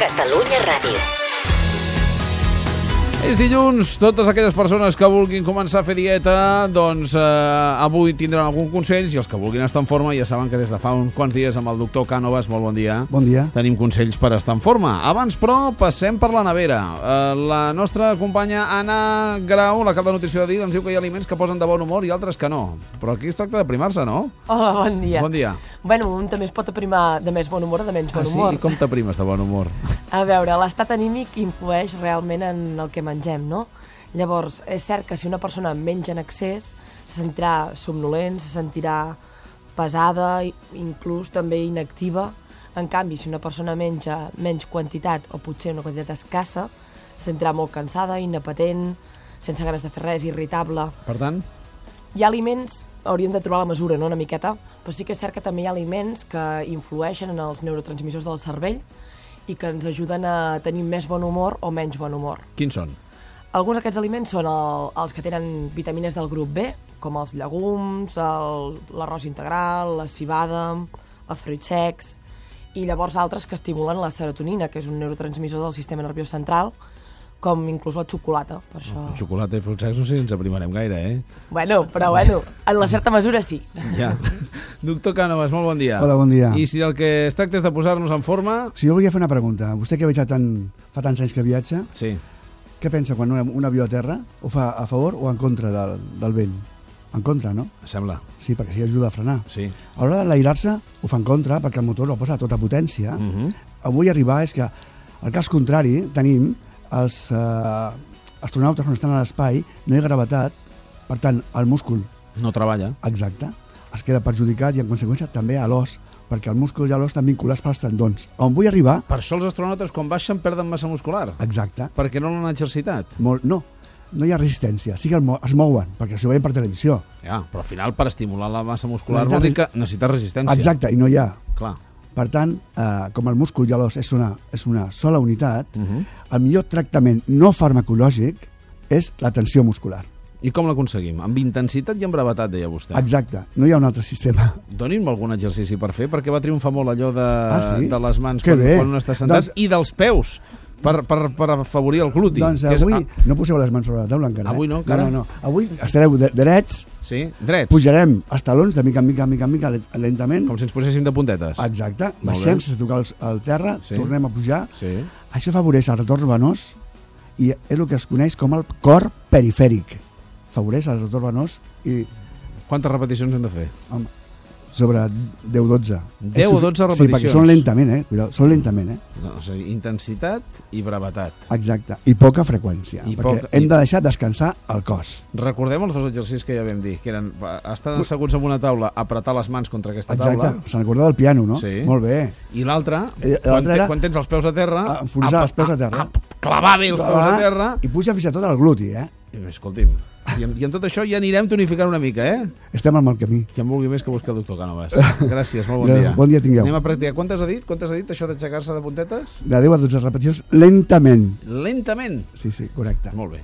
Catalunya Ràdio. És dilluns, totes aquelles persones que vulguin començar a fer dieta, doncs eh, avui tindran algun consell, i els que vulguin estar en forma ja saben que des de fa uns quants dies amb el doctor Cànovas, molt bon dia, Bon dia. tenim consells per estar en forma. Abans, però, passem per la nevera. Eh, la nostra companya Anna Grau, la cap de nutrició de dit, ens diu que hi ha aliments que posen de bon humor i altres que no. Però aquí es tracta de primar-se, no? Hola, bon dia. Bon dia. Ah, Bueno, un també es pot aprimar de més bon humor o de menys bon sí? humor. I com t'aprimes de bon humor? A veure, l'estat anímic influeix realment en el que mengem, no? Llavors, és cert que si una persona menja en excés, se sentirà somnolent, se sentirà pesada, i- inclús també inactiva. En canvi, si una persona menja menys quantitat o potser una quantitat escassa, se sentirà molt cansada, inapetent, sense ganes de fer res, irritable. Per tant, hi ha aliments hauríem de trobar la mesura, no?, una miqueta, però sí que és cert que també hi ha aliments que influeixen en els neurotransmissors del cervell i que ens ajuden a tenir més bon humor o menys bon humor. quins són? Alguns d'aquests aliments són el, els que tenen vitamines del grup B, com els llegums, el- l'arròs integral, la cibada, els fruits secs, i llavors altres que estimulen la serotonina, que és un neurotransmissor del sistema nerviós central, com inclús la xocolata, per això... Xocolata i fruits secs no sé si ens aprimarem gaire, eh? Bueno, però bueno, en la certa mesura sí. Ja. Doctor Cànovas, molt bon dia. Hola, bon dia. I si el que es tracta és de posar-nos en forma... Si jo volia fer una pregunta, vostè que viatja tant, fa tants anys que viatja, Sí. què pensa quan un, un avió aterra? Ho fa a favor o en contra del, del vent? En contra, no? Sembla, Sí, perquè sí ajuda a frenar. sí. A l'hora d'enlairar-se ho fa en contra perquè el motor ho posa a tota potència. Mm Mhm. Avui arribar és que, al cas contrari, tenim els eh, astronautes quan estan a l'espai, no hi ha gravetat, per tant, el múscul No treballa. Exacte. Es queda perjudicat i, en conseqüència, també a l'os, perquè el múscul i l'os estan vinculats pels tendons. On vull arribar? Per això els astronautes quan baixen perden massa muscular, Exacte. perquè no l'han exercitat. Molt, no, no hi ha resistència. Sí que el mo es mouen, perquè s'ho veiem per televisió. Ja, però al final per estimular la massa muscular Necessita vol dir que resi- necessites resistència. Exacte, i no hi ha. Clar. Per tant, eh, com el múscul i l'os és, una, és una sola unitat, uh Mhm. -huh. el millor tractament no farmacològic és la tensió muscular. I com l'aconseguim? Amb intensitat i amb brevetat, deia vostè. Exacte, no hi ha un altre sistema. Doni'm algun exercici per fer, perquè va triomfar molt allò de, Ah, sí? de les mans Que quan, bé. quan un està sentat, Doncs- i dels peus, per, per, per afavorir el gluti. doncs que és- ah, avui... No poseu les mans sobre la taula encara. Avui eh? no, encara. No, no, no. Avui estareu de drets, ah, sí, drets, pujarem els talons de mica en mica, en mica, en mica, lent- lentament. com si ens poséssim de puntetes. Exacte, bé. baixem sense tocar els- el terra, Sí. sí. tornem a pujar. Sí. Això afavoreix el retorn venós i és el que es coneix com el cor perifèric. Favoreix el retorn venós i Quantes repeticions hem de fer? home, sobre 10-12. 10 És sufi- 12 Sí, perquè repeticions. són lentament, eh? Cuidao, són lentament, eh? No, o sigui, intensitat i brevetat. Exacte, i poca freqüència, I I perquè poca- hem i- de deixar descansar el cos. Recordem els dos exercicis que ja vam dir, que eren eh, estar asseguts en una taula, apretar les mans contra aquesta taula, Exacte, se'n recorda del piano, no? Sí. Molt bé. i l'altre, Eh, l'altre quan, te- era- quan tens els peus a terra, Ah, enfonsar els peus a terra. clavar bé els peus a Clar, terra, I puja fins i tot al gluti, eh? i, escolti'm, i amb, i amb tot això ja anirem tonificant una mica, eh? Estem al mal camí. Qui en vulgui més que busqui el doctor Cànovas. Gràcies, molt bon Ja, dia. bon dia tingueu. Anem a practicar. Quantes ha dit? Quantes ha dit això d'aixecar-se de puntetes? De 10 a 12 repeticions, lentament. Lentament. Sí, sí, correcte. Molt bé.